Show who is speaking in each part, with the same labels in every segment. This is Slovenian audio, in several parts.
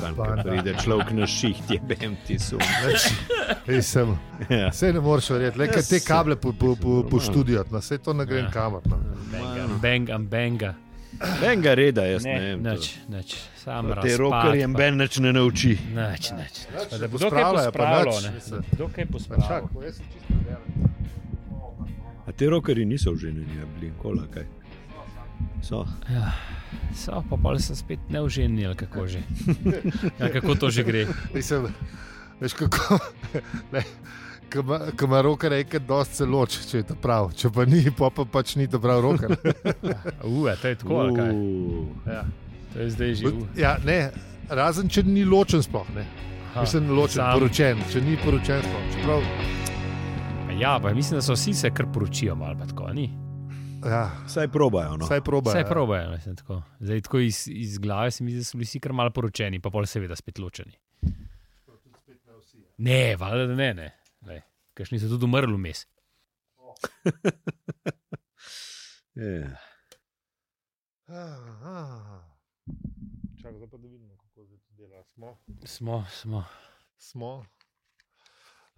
Speaker 1: Tam,
Speaker 2: Panda.
Speaker 1: ko pride človek na šiht, je bem ti sum.
Speaker 2: Sem,
Speaker 1: Ja.
Speaker 2: vse ne moreš verjeti, le kaj te kable po, po, po, po študiju, no, vse to ne
Speaker 3: Ja.
Speaker 2: grem kamor. No.
Speaker 4: Bang, am banga,
Speaker 1: Benga reda, jaz ne,
Speaker 3: Ne,
Speaker 1: ne vem. to.
Speaker 4: noč, noč, sam razumem.
Speaker 1: Te rokerje ben nič ne nauči.
Speaker 4: Noč, noč.
Speaker 2: Pač,
Speaker 3: Da bo kdo kaj pospravljal, ne? Kdo kaj pospravljal?
Speaker 2: Čakaj, jaz sem čisto veren.
Speaker 1: A te rokerji niso oženjeni, a bili kola kaj. So.
Speaker 4: So, pa pol sem spet neuženjen, ali kako že. Ja, kako to že gre?
Speaker 2: Mislim, veš kako. Ne. ko ima- Ko ima roka reke, da se loči, če je to prav. Če pa ni, pa, pa pač ni to prav roka.
Speaker 4: Uf, to je tako, ali kaj.
Speaker 1: Uh,
Speaker 4: Ja, to je zdaj že. u.
Speaker 2: Ja, ne, razen če ni ločen sploh. Ne.
Speaker 4: Aha,
Speaker 2: Mislim, ločen,
Speaker 4: sam.
Speaker 2: poročen, če ni poročen sploh. Čeprav,
Speaker 4: Ja, pa mislim, da so vsi se kar poročijo, malo pa tako, ni.
Speaker 2: ja,
Speaker 1: Saj probajo. No.
Speaker 2: vsaj proba. ja.
Speaker 4: Vse probejo, mislim, tako. Zdaj, tako iz, iz glave se mi zdi, da so bili vsi kar malo poročeni, pa pol seveda spet ločeni. Ne, valjda da ne, ne. Lej, Kakšni so tudi umrli vmes.
Speaker 1: Je.
Speaker 2: Čakaj, pa da vidimo, kako zdaj to dela. Smo,
Speaker 4: Smo, smo.
Speaker 2: smo,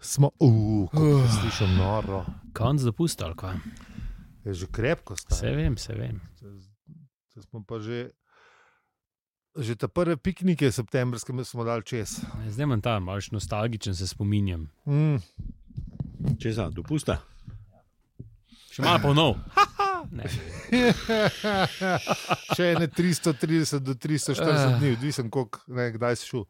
Speaker 2: smo, uh, uh. slišim noro.
Speaker 4: Konc dopusta, ali kaj?
Speaker 2: Je že krepko
Speaker 4: Se
Speaker 2: stane.
Speaker 4: vem, se vem.
Speaker 2: Zdaj smo pa že, že te prve piknike septembrske mi smo dali čez.
Speaker 4: Zdaj imam ta, malo še nostalgičen se spominjam.
Speaker 2: Mm.
Speaker 1: Če za dopusta.
Speaker 4: Še malo ponov. Ne.
Speaker 2: Še ne 330 do 340 dni, odvisen, koliko, ne, kdaj si šel.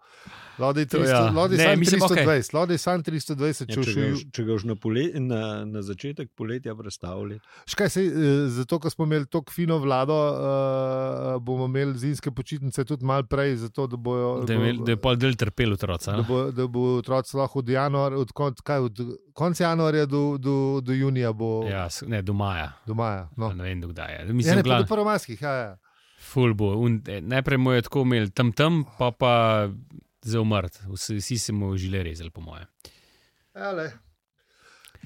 Speaker 2: Lodi
Speaker 4: Ah. To ja.
Speaker 2: 300, lodi
Speaker 4: Ne,
Speaker 2: sam
Speaker 4: mislim, okej.
Speaker 2: 320, lodi sam 320,
Speaker 1: Ja,
Speaker 2: če
Speaker 1: če, ga,
Speaker 2: šel.
Speaker 1: už- če ga už na, pole, na, na začetek poletja predstavljali.
Speaker 2: Škaj se, eh, zato ker smo imeli tako fino vlado, uh, bomo imeli zimske počitnice tudi malo prej, zato da bojo.
Speaker 4: Da je, imel- da je pol del trpel no? otroci.
Speaker 2: Da
Speaker 4: a?
Speaker 2: bo, da bo otroci lahko od, januar, od, konc, kaj, od konca januarja do, do, do junija, bo ja.
Speaker 4: Ja, s- ne, do maja.
Speaker 2: do maja. No.
Speaker 4: Pa Ne vem, do kdaj je.
Speaker 2: Ja,
Speaker 4: Mislim,
Speaker 2: ne,
Speaker 4: ja,
Speaker 2: pa
Speaker 4: glav,
Speaker 2: do prvomaskih. Ja, ja.
Speaker 4: ful bo. Un, eh, najprej mu je tako imel tam tam, pa pa za umrt. Vsi, vsi se mu žile rezali, po moje.
Speaker 2: Ele.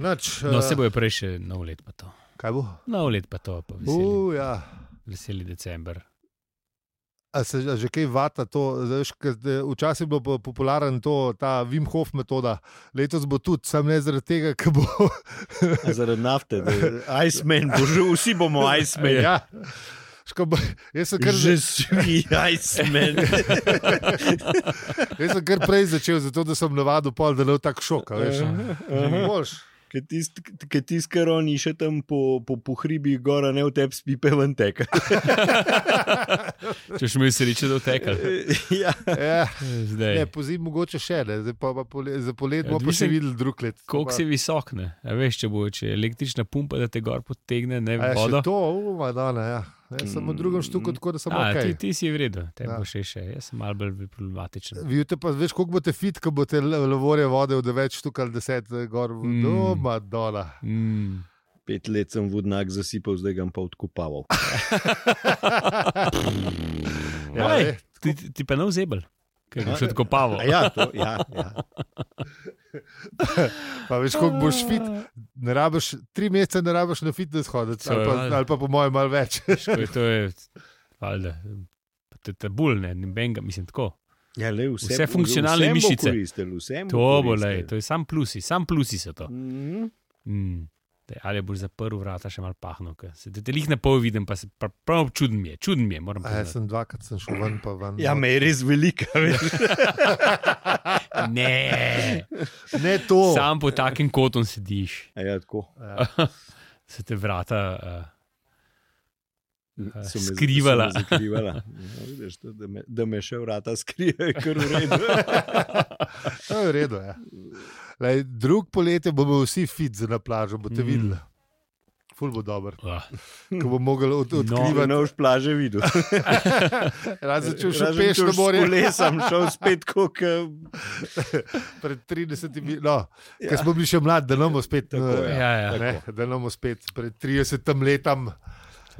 Speaker 2: Nač,
Speaker 4: No,
Speaker 2: eh,
Speaker 4: se bojo prej še nov let pa to.
Speaker 2: Kaj bo?
Speaker 4: Nov let pa to, pa veseli,
Speaker 2: Uh, ja.
Speaker 4: veseli december.
Speaker 2: A se že- že kaj vata to? Zdaj, veš, ke zdaj- včasih je bilo po- popularen to, ta Wim Hof metoda, letos bo tudi, sam ne zaradi tega, ker bo.
Speaker 1: A Zaradi nafte, da je Iceman, bo že, vsi bomo Iceman.
Speaker 2: ja. Ško bo- Jaz sem, kar,
Speaker 1: Že si Iceman.
Speaker 2: jaz sem kar prej začel, zato da sem navadil pol, da ne bo tako šok. a Veš, Ne boš.
Speaker 1: Ker tisti, ki tis, kar oni še tam po, po, po hribih gora, ne v tebi spipe ven teka.
Speaker 4: Če še mi sreče, da otekal.
Speaker 1: ja.
Speaker 2: Ja, ne,
Speaker 4: Zdaj,
Speaker 2: po zimi mogoče še ne, zdaj pa, pa pole, za polet bomo pa še
Speaker 4: Odvisno,
Speaker 2: videli drug let.
Speaker 4: koliko si visok, ne? A veš, če bo če je električna pumpa, da te gor potegne, ne
Speaker 2: Ja,
Speaker 4: vodo.
Speaker 2: še to, uma, da ne. Ja. Ne,
Speaker 1: Mm.
Speaker 2: samo v drugem štuku, tako da samo
Speaker 4: A,
Speaker 2: kaj.
Speaker 4: ti, ti si v redu, te
Speaker 2: Ja.
Speaker 4: ja. bo še še, jaz sem malo bolj problematičen.
Speaker 2: Vi te pa veš, koliko boste fit, ko boste le- levorje vode od 9 štuk ali 10 gor, mm. do Madona.
Speaker 4: Mm.
Speaker 1: Pet let sem vodnak zasipal, zdaj ga bom pa odkopaval.
Speaker 4: Oh.
Speaker 2: Ja,
Speaker 4: Ej,
Speaker 2: ne.
Speaker 4: ti, ti- ti pa ne vzebel, ker boš odkopaval.
Speaker 1: A Ja, to, ja, ja.
Speaker 2: Pa veš, koliko boš fit, ne rabiš, tri mesece ne rabiš na fitness hoditi,
Speaker 4: To je
Speaker 2: ali pa,
Speaker 4: valjda.
Speaker 2: ali pa po mojem malo več.
Speaker 4: Ko je to je, valjda, pa te tabul, ne, nobenega, mislim tako.
Speaker 1: ja le, vse,
Speaker 4: Vse funkcionalne
Speaker 1: vsem bo
Speaker 4: mišice.
Speaker 1: Koristil, vsem
Speaker 4: To bo,
Speaker 1: koristil.
Speaker 4: lej, to je sam plusi, sam plusi so to.
Speaker 1: Mhm.
Speaker 4: Mm. Daj, Ali boš zaprl vrata, še malo pahno, ker se te lih na pol vidim, pa se pa- prav čudno mi je, čudno mi je, moram
Speaker 2: A, jaz
Speaker 4: priznati.
Speaker 2: sem dvakrat sem šel ven, pa ven. no.
Speaker 1: Ja, me je res velika, veš.
Speaker 4: Ne,
Speaker 2: ne to.
Speaker 4: sam po takem kotom sediš,
Speaker 1: A Ja, tako.
Speaker 4: se te vrata. Uh,
Speaker 1: So me- so me
Speaker 4: Skrivala.
Speaker 1: Zakrivala. Ja, vidiš, to, da, me, da me še vrata skrijejo, kar v redu.
Speaker 2: To je v redu. Ja. Lej, drug poletje bomo vsi fit za na plažo, boste
Speaker 4: Mm.
Speaker 2: mm. videli. Ful bo dober,
Speaker 4: uh,
Speaker 2: ko bo mogel od,
Speaker 4: No.
Speaker 2: odkrivati.
Speaker 1: Krivano už plaže videl.
Speaker 2: Eh, Razen če še
Speaker 1: Razen,
Speaker 2: peš na
Speaker 1: boš
Speaker 2: morje.
Speaker 1: s kolesom šel spet, kot
Speaker 2: Pred 30 leti, no, ja. ker smo bili še mladi, da nam bo spet tako.
Speaker 1: ja.
Speaker 4: ja, ja.
Speaker 2: Ne, da nam bo spet pred 30 letom.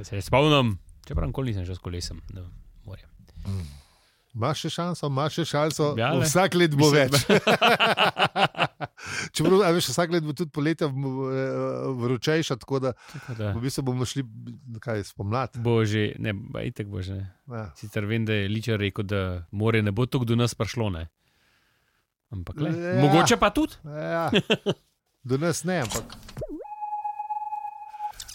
Speaker 4: Saj Se spomnim, čeprav nikoli nisem šel s kolesom. na morje.
Speaker 2: Imaš še šanso, imaš še šanso.
Speaker 4: Ja,
Speaker 2: Ja,
Speaker 4: le.
Speaker 2: Vsak let bo
Speaker 4: Mislim,
Speaker 2: več. Čeprav, a veš, vsak let bo tudi poletje eh, vročejša, tako da
Speaker 4: Tako da,
Speaker 2: v bistvu bomo šli kaj, spomlad.
Speaker 4: Bože, ne, itek bože. Ne.
Speaker 2: Ja.
Speaker 4: Sicer vem, da je Ličar rekel, da more ne bo tako do nas prišlo. Ne? Ampak le.
Speaker 2: Ja.
Speaker 4: Ja. Mogoče pa tudi.
Speaker 2: Ja. Do nas ne, ampak.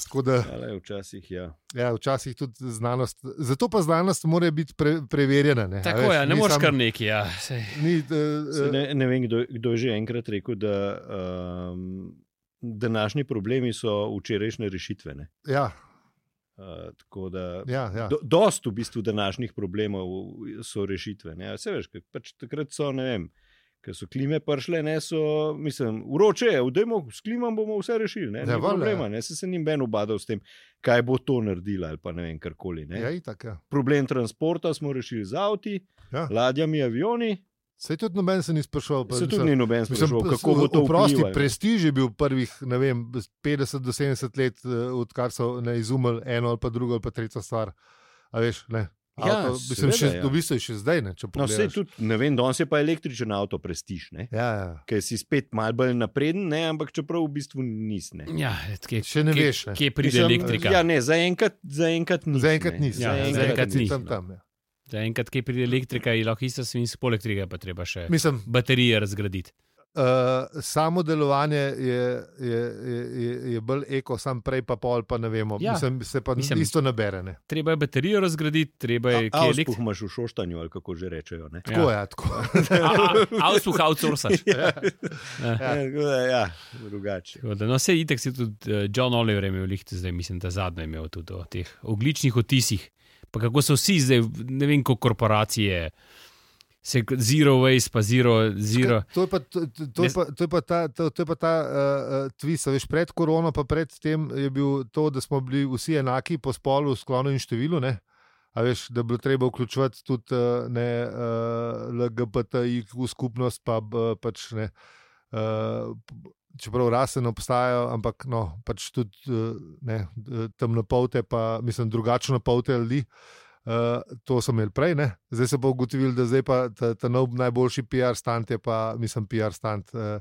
Speaker 2: Tako da,
Speaker 1: Ale, včasih ja.
Speaker 2: ja, včasih tudi znanost, zato pa znanost mora biti pre, preverjena. Ne, a
Speaker 4: Tako
Speaker 2: Ja, veš,
Speaker 4: je, ne
Speaker 2: ni
Speaker 4: moreš
Speaker 2: samo-
Speaker 4: kar neki. Ja. saj.
Speaker 2: Ni,
Speaker 1: Saj
Speaker 2: uh,
Speaker 1: Ne, ne vem, kdo, kdo je že enkrat rekel, da um, današnji problemi so včerajšnje rešitve. Ne?
Speaker 2: ja,
Speaker 1: Uh, tako da.
Speaker 2: ja, ja.
Speaker 1: Do, dost v bistvu današnjih problemov so rešitve. Ne? Se veš, ker pač takrat so, ne vem, ker so klime prišle, ne so, mislim, vroče je, vdemo, s klimom bomo vse rešili, ne,
Speaker 2: Ja,
Speaker 1: ne
Speaker 2: valjda,
Speaker 1: problema,
Speaker 2: ja.
Speaker 1: ne, se se ni ben ubadal s tem, kaj bo to naredila ali pa ne vem, karkoli. Ne.
Speaker 2: ja, itak, ja.
Speaker 1: Problem transporta smo rešili z avti,
Speaker 2: Ja.
Speaker 1: ja. ladjami, avioni,
Speaker 2: Sej tudi noben se ni sprašoval. pa
Speaker 1: se
Speaker 2: mislim-
Speaker 1: tudi ni noben
Speaker 2: Mislim,
Speaker 1: sprašal, kako bo to
Speaker 2: prosti
Speaker 1: vplivalo.
Speaker 2: prestiž je bil prvih ne vem, 50 do 70 let, eh, odkar so ne izumili eno ali pa drugo ali pa tretjo stvar. A veš, ne.
Speaker 1: Ja,
Speaker 2: Avto, mislim,
Speaker 1: seveda,
Speaker 2: še,
Speaker 1: ja.
Speaker 2: v bistvu je še zdaj. Ne, če
Speaker 1: No,
Speaker 2: pogledaš.
Speaker 1: sej tudi, ne vem, danes je pa električen avto prestiž, ne?
Speaker 2: ja, ja.
Speaker 1: ker si spet malo bolj napreden, ne? ampak čeprav v bistvu nisi. ne.
Speaker 4: Ja, kje,
Speaker 2: Še ne
Speaker 4: kje,
Speaker 2: veš, ne.
Speaker 4: Kje pride
Speaker 1: Mislim,
Speaker 4: elektrika?
Speaker 1: Ja, ne, zaenkrat zaenkrat ni.
Speaker 2: Zaenkrat nisi.
Speaker 4: Ja,
Speaker 2: ne,
Speaker 4: zaenkrat
Speaker 2: si
Speaker 4: ni.
Speaker 2: Tam,
Speaker 4: no.
Speaker 2: tam, ja.
Speaker 4: Da enkrat, ki pride elektrika, je lahko isto svinsko, poleg tega pa treba še
Speaker 2: Mislim,
Speaker 4: baterije razgraditi.
Speaker 2: uh, samo delovanje je, je, je, je, je bolj eko, sam prej pa pol, pa ne vemo.
Speaker 4: Ja.
Speaker 2: Mislim, se pa
Speaker 4: Mislim- Ja.
Speaker 2: Mislim, isto nabere. Ne.
Speaker 4: Treba je baterijo razgraditi, treba Torej, je
Speaker 1: Kaj
Speaker 4: kje
Speaker 1: je
Speaker 4: elektrika.
Speaker 1: likumaš v šoštanju, ali kako že rečejo? Ne?
Speaker 2: Tako ja. je, tako.
Speaker 4: Avsuh outsourcaš.
Speaker 1: Ja. Ja, ja, drugače.
Speaker 4: Tako da, No, vse itek si tudi eh, John Oliver je imel, lihte, zdaj mislim, da zadnjo je imel tudi o teh ogličnih otisih. Pa kako so vsi zdaj, ne vem, kako korporacije, se k- zero waste, pa zero, zero.
Speaker 2: To je pa, to, to- to je
Speaker 4: Ne-
Speaker 2: pa, to je pa ta, to, to je pa ta uh, twist. a Veš, pred korono, pa pred tem je bil to, da smo bili vsi enaki po spolu, sklonu in številu. Ne? A veš, da je bilo treba vključevati tudi eh, ne, uh, LGBTIQ skupnost, pa b- pač ne. Uh, čeprav raseno obstajajo, ampak no, pač tudi eh, ne, eh, temnopolte, pa mislim, drugačno polte ljudi. Uh, to sem imel prej, ne? zdaj se bo ugotovil, da zdaj pa ta, ta nov najboljši PR stant je pa, mislim, PR stant. Uh,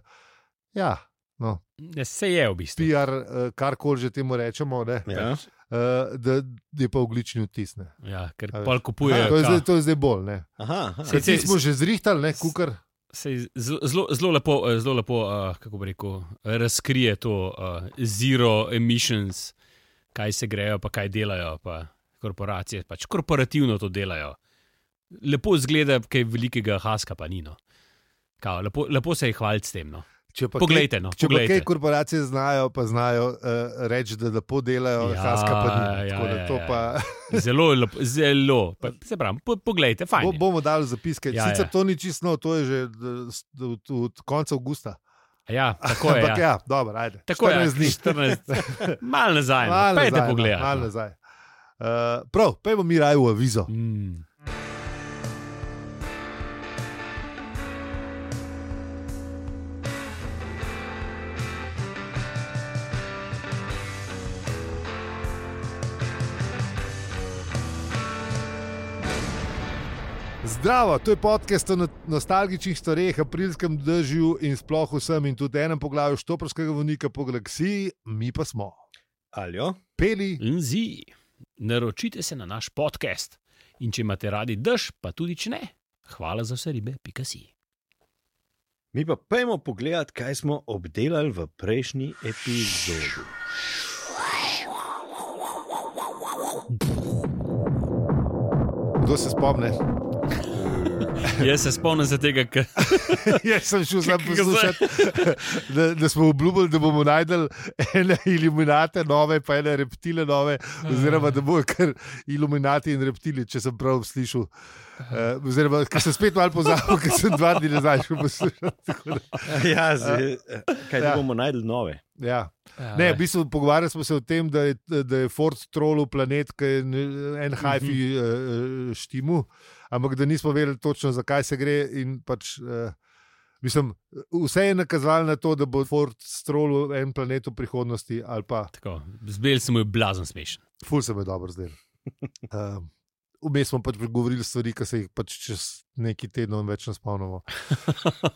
Speaker 2: ja,
Speaker 4: Ne, se je v bistvu.
Speaker 2: PR, uh, kar koli že temu rečemo, ne,
Speaker 1: Ja.
Speaker 4: Pač.
Speaker 2: uh, da je pa oglični odtis. ne.
Speaker 4: Ja, ker
Speaker 2: A veš.
Speaker 4: pol
Speaker 2: Ja, to, je
Speaker 4: kupujejo.
Speaker 2: zdaj, to je zdaj bolj. ne.
Speaker 1: Aha, aha.
Speaker 4: Se-
Speaker 2: Ker
Speaker 4: se-
Speaker 2: ti smo že zrihtali, ne, kukar.
Speaker 4: Sej zelo- Zelo zelo lepo, eh, zelo lepo eh, kako bi rekel, razkrije to eh, zero emissions, kaj se grejo, pa kaj delajo. Pa korporacije pač korporativno to delajo. Lepo zgleda, kaj velikega haska pa ni. No. Kao, lepo, lepo se je hvaliti s tem. No.
Speaker 2: Če pa
Speaker 4: Poglejte,
Speaker 2: kaj-
Speaker 4: no,
Speaker 2: če pa
Speaker 4: poglejte.
Speaker 2: kaj korporacije znajo, pa znajo uh, reči, da lepo delajo,
Speaker 4: Ja,
Speaker 2: haska pa ni.
Speaker 4: ja,
Speaker 2: Tako da
Speaker 4: ja,
Speaker 2: to
Speaker 4: ja.
Speaker 2: pa-
Speaker 4: Zelo, lepo, zelo. Pa, se pravi, po, poglejte, fajn.
Speaker 2: Bo,
Speaker 4: je.
Speaker 2: bomo dali zapiske.
Speaker 4: Ja,
Speaker 2: Ja, Sicer
Speaker 4: ja.
Speaker 2: ja. to ni čisto, to je že eh, s- od, od konca avgusta.
Speaker 4: Ja, tako je.
Speaker 2: Ampak
Speaker 4: Ja.
Speaker 2: ja, dobro, ajde.
Speaker 4: Tako je,
Speaker 2: 14 dni.
Speaker 4: 14, malo nazaj,
Speaker 2: Malo
Speaker 4: no. pejte
Speaker 2: nazaj,
Speaker 4: pogled.
Speaker 2: malo nazaj. Uh, prav, pojmo mi raje v avizo.
Speaker 4: Mm.
Speaker 2: Zdravo, to je podcast o no- nostalgičnih stvareh, aprilskem dežju in sploh vsem in tudi enem poglavju štoprskega vonika po galaksiji, mi pa smo.
Speaker 1: Aljo?
Speaker 2: Peli,
Speaker 4: Nzi, naročite se na naš podcast. In če imate radi dež, pa tudi če ne, hvala za vse ribe, pika si.
Speaker 1: Mi pa pojmo pogledat, kaj smo obdelali v prejšnji epizodi.
Speaker 2: kdo se spomne?
Speaker 4: Jaz se spomnim se tega, ker
Speaker 2: Jaz sem šel sam
Speaker 4: Kako se-
Speaker 2: poslušati, da, da smo obljubili, da bomo najdel ene iluminate nove, pa ene reptile nove, oziroma da bojo kar iluminati in reptili, če sem prav slišal. Uh, oziroma, ker sem spet malo pozabil, ker sem dva dni nazaj šel poslušati. tako da-
Speaker 1: Ja, z, kaj
Speaker 2: Ja.
Speaker 1: ja. bomo najdel nove?
Speaker 2: Ja. Ne, v bistvu pogovarjali smo se o tem, da je, da je Ford trolil planet, ki je n-
Speaker 1: Mhm.
Speaker 2: en hajfi uh, štimu, ampak da nismo vedeli točno, zakaj se gre. in Pač, uh, mislim, vse je nakazalo na to, da bo Ford trolil en planet v prihodnosti, ali pa
Speaker 4: Tako, zbel sem jo blazen smešen.
Speaker 2: ful se mi je dobro zdel. Um, Vmes smo pač govorili stvari, ki se jih pač čez nekaj tednov več ne spomnimo.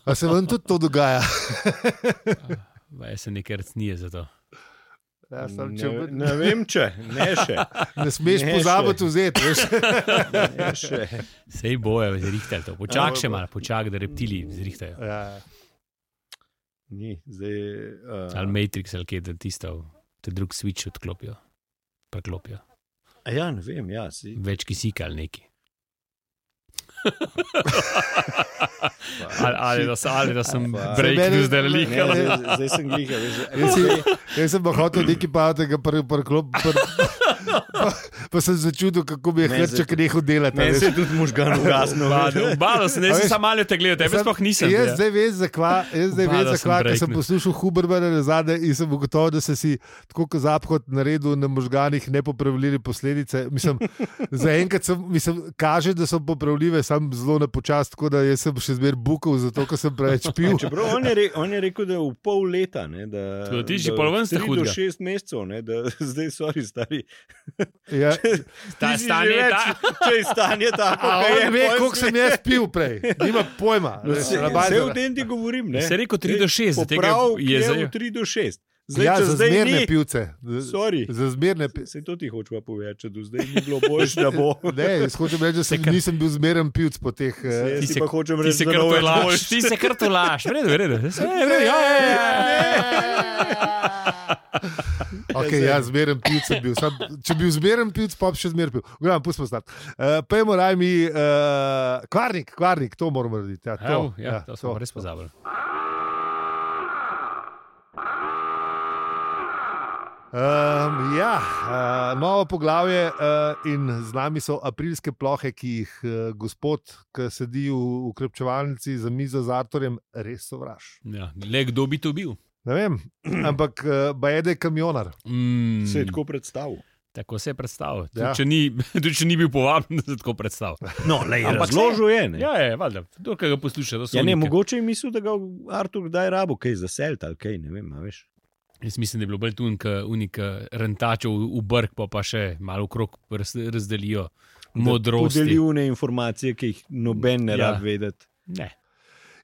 Speaker 2: A se vam tudi to dogaja?
Speaker 4: Vaj se nekaj rcnije za to.
Speaker 1: Ja, sam, če... ne, ne vem, če ne še.
Speaker 2: Ne smeš
Speaker 1: Ne
Speaker 2: pozabiti
Speaker 1: še.
Speaker 2: vzeti. veš.
Speaker 1: Ne, še.
Speaker 4: Sej boje, zrihtali to. Počak še malo, počak, da reptili zrihtajo.
Speaker 2: Ja, ja.
Speaker 1: Ni, zdaj, uh,
Speaker 4: Ali Matrix, ali kaj, da tisto, te drug switch odklopijo, preklopijo.
Speaker 1: a ja, ne vem, ja, si.
Speaker 4: Več kisika ali neki. ali, ali, da, sem- ali da sem
Speaker 1: Pa-
Speaker 4: breakthrough
Speaker 2: Mene-
Speaker 4: zdaj
Speaker 1: Ne,
Speaker 4: lihal.
Speaker 1: zdaj, zdaj sem gliha, veš.
Speaker 2: Jaz, si, jaz sem pa hotel neki pametnega preklop, pr, pa, pa sem začudil, kako mi je
Speaker 1: Ne,
Speaker 2: hrček
Speaker 1: zdaj-
Speaker 2: nehal delati. a
Speaker 1: Meni
Speaker 2: veš.
Speaker 1: se je tudi možgan ugasnil.
Speaker 4: Balo se, ne
Speaker 2: A
Speaker 4: sem
Speaker 2: veš,
Speaker 4: samo malo te gledal, tebe
Speaker 2: Sam-
Speaker 4: sploh nisem.
Speaker 2: Jaz
Speaker 4: ja.
Speaker 2: zdaj vem, zakaj, jaz zdaj vem,
Speaker 4: Malo sem
Speaker 2: zakaj, ker sem
Speaker 4: breaknil.
Speaker 2: poslušal Hubermana nazadnje in sem ugotovil, da se si tako kot zaphod naredil na možganjih nepopravljive posledice. Mislim, zaenkrat sem, mislim, kaže, da so popravljive, sam zelo na počast, tako da jaz sem še zmer bukal, zato ker sem preveč pil.
Speaker 1: Čeprav on je, re, on je rekel, da je v pol leta. Ne, da,
Speaker 4: Tako da ti že
Speaker 1: da
Speaker 4: pol ven sta
Speaker 1: tri do
Speaker 4: hudega.
Speaker 1: šest mesecev, ne, da zdaj so stari.
Speaker 2: Ja.
Speaker 4: Ta
Speaker 1: Ti si že
Speaker 4: stanje je
Speaker 1: več,
Speaker 4: ta-
Speaker 1: Če je stanje tako,
Speaker 2: A
Speaker 1: kot je,
Speaker 2: on ve,
Speaker 1: pol
Speaker 2: koliko
Speaker 1: si-
Speaker 2: sem jaz pil prej, nima pojma.
Speaker 1: No,
Speaker 2: Res,
Speaker 1: se-
Speaker 2: nabajzala.
Speaker 1: Vse v tem ti govorim. Ne.
Speaker 4: Se je rekel 3 do 6, zdaj tega
Speaker 1: Prav
Speaker 4: je
Speaker 1: je
Speaker 4: zdaj.
Speaker 1: v 3 do 6. Zdaj,
Speaker 2: Ja,
Speaker 1: če
Speaker 2: za
Speaker 1: zdaj
Speaker 2: zmerne
Speaker 1: ni,
Speaker 2: pivce. Z-
Speaker 1: sorry,
Speaker 2: Za zmerne pivce.
Speaker 1: se to ti hočeva povedati, če do zdaj ni bilo boljš, da bo.
Speaker 2: Ne, jaz hočem reči, da sem,
Speaker 4: Čakaj.
Speaker 2: nisem bil zmeren pivc po teh.
Speaker 1: Ti
Speaker 2: eh,
Speaker 4: Ti
Speaker 1: se
Speaker 4: se-
Speaker 1: pa hočem
Speaker 4: Ti se
Speaker 1: reči, da ne
Speaker 4: kar
Speaker 1: bo
Speaker 4: tolaš,
Speaker 1: boljš.
Speaker 4: ti se kar tolaš, v redu, v redu. Saj, v redu, ja, ja,
Speaker 2: Okay, ja, zmeren pil sem bil. Sam, če bi bil zmeren pil, pa bi še zmeren pil. Gledam, pustimo stati. Uh, Pejmo raj mi, uh, kvarnik, kvarnik, to moramo narediti. Ja,
Speaker 4: ja.
Speaker 2: to,
Speaker 4: Ja, to smo res
Speaker 2: to.
Speaker 4: pozabili.
Speaker 2: Um, ja, uh, novo poglavje uh, in z nami so aprilske plohe, ki jih uh, gospod, ki sedi v ukrepčevalnici za mizo z Artorjem, res sovraž.
Speaker 4: Ja. Le kdo bi to bil?
Speaker 2: Ne vem, ampak uh, bajede kamionar.
Speaker 4: Mm,
Speaker 1: Se je tako predstavljal.
Speaker 4: tako se je predstavil. Tudi,
Speaker 2: Ja.
Speaker 4: ja. če ni, tudi če ni bil povabljen, da se je tako predstavil.
Speaker 1: No, le,
Speaker 4: Ampak
Speaker 1: razložil je. Ne.
Speaker 4: Ja, je, valjda. Kdo ki ga posluša, da so
Speaker 1: Ja, ne, mogoče je mislil, da ga Artur kdaj rabo, kaj za selt ali kaj, ne vem, a veš.
Speaker 4: Jaz mislim, da je bilo bolj tu unik rentačev v brk, pa, pa še malo okrog raz, razdelijo modrost.
Speaker 1: Podeljivne informacije, ki jih noben ne
Speaker 4: Ja.
Speaker 1: ja. rab vedeti.
Speaker 4: Ne,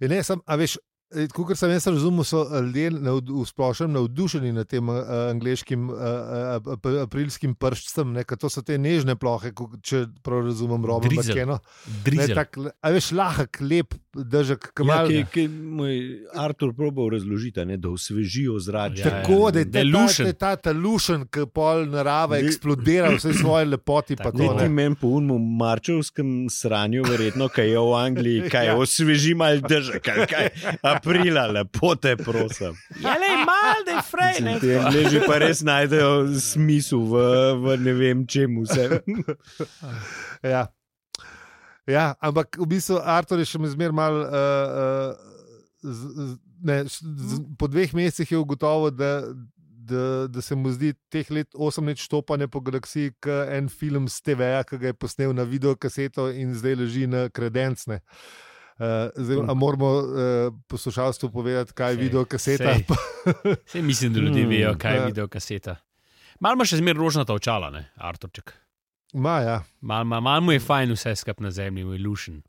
Speaker 2: Je Ne, sam, a veš, eh, tako kot sem jaz razumel, so ljudje navd- v splošnem navdušeni nad tem eh, angliškim eh, eh, ap- aprilskim prščcem, ne, ker to so te nežne plohe, ko- če prav razumem, robo
Speaker 4: Drizel.
Speaker 2: bakeno. Ne,
Speaker 4: drizel. Tak...
Speaker 2: tak, a veš, lahek, lep, držek,
Speaker 1: Ja,
Speaker 2: kamal.
Speaker 1: ki, ki mu je Artur probal razložiti, a ne, da osveži ozračje.
Speaker 4: Ja,
Speaker 2: Tako da je
Speaker 4: da
Speaker 2: ta-
Speaker 4: je
Speaker 2: ta-
Speaker 4: lušen.
Speaker 2: da je ta, ta lušen, ki pol narava
Speaker 1: Ni-
Speaker 2: eksplodira vse svoje lepoti. pa
Speaker 4: Tako,
Speaker 2: to,
Speaker 1: Ne,
Speaker 2: ne.
Speaker 1: ti meni po unmu marčevskem sranju, verjetno, kaj je v Angliji, kaj je
Speaker 2: Ja.
Speaker 1: osveži mal držek, ali kaj aprila, lepo te prosim.
Speaker 4: Ja, le malo, da je frej.
Speaker 1: Mislim, Ti angliži pa res najdejo smisel v, v ne vem čemu vse.
Speaker 2: Ja. ja, ampak v bistvu Artur je še zmeraj malo. Uh, uh, ne, s- z, po dveh mesecih je ugotovil, da, da, da se mu zdi teh let, osem let štopanja po galaksiji, kot en film z TV-ja, ki ga je posnel na videokaseto in zdaj leži na kredencne. Uh, zdaj, a moramo uh, poslušalstvu povedati, kaj je
Speaker 4: Sej,
Speaker 2: videokaseta.
Speaker 4: sej. Sej mislim, da ljudje
Speaker 1: Mm,
Speaker 4: vejo, kaj je
Speaker 2: ja.
Speaker 4: video kaseta. Mal ima še zmeraj rožnata očala, ne, Artoček.
Speaker 2: Maja.
Speaker 4: Mal, mal, mal mu je fajn vse skup na zemlji, mu je lušen.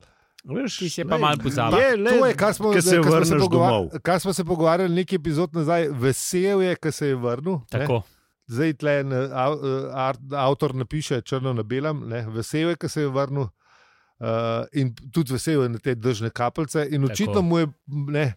Speaker 1: No, Veš,
Speaker 4: Ti si pa malo pozabil.
Speaker 1: Je, le,
Speaker 2: To je, kar smo,
Speaker 1: ko se
Speaker 2: kar smo, se,
Speaker 1: vrneš
Speaker 2: pogovar,
Speaker 1: domov.
Speaker 2: kar smo se pogovarjali nekaj epizod nazaj. Vesel je, ker se je vrnil. ne.
Speaker 4: Tako.
Speaker 2: zdaj tle en eh, av- eh, ar- avtor napiše črno na belem, ne, vesel je, ker se je vrnil. Uh, in tudi vesel je na te držne kapljice, in
Speaker 4: Tako.
Speaker 2: očitno mu je, ne, mu je,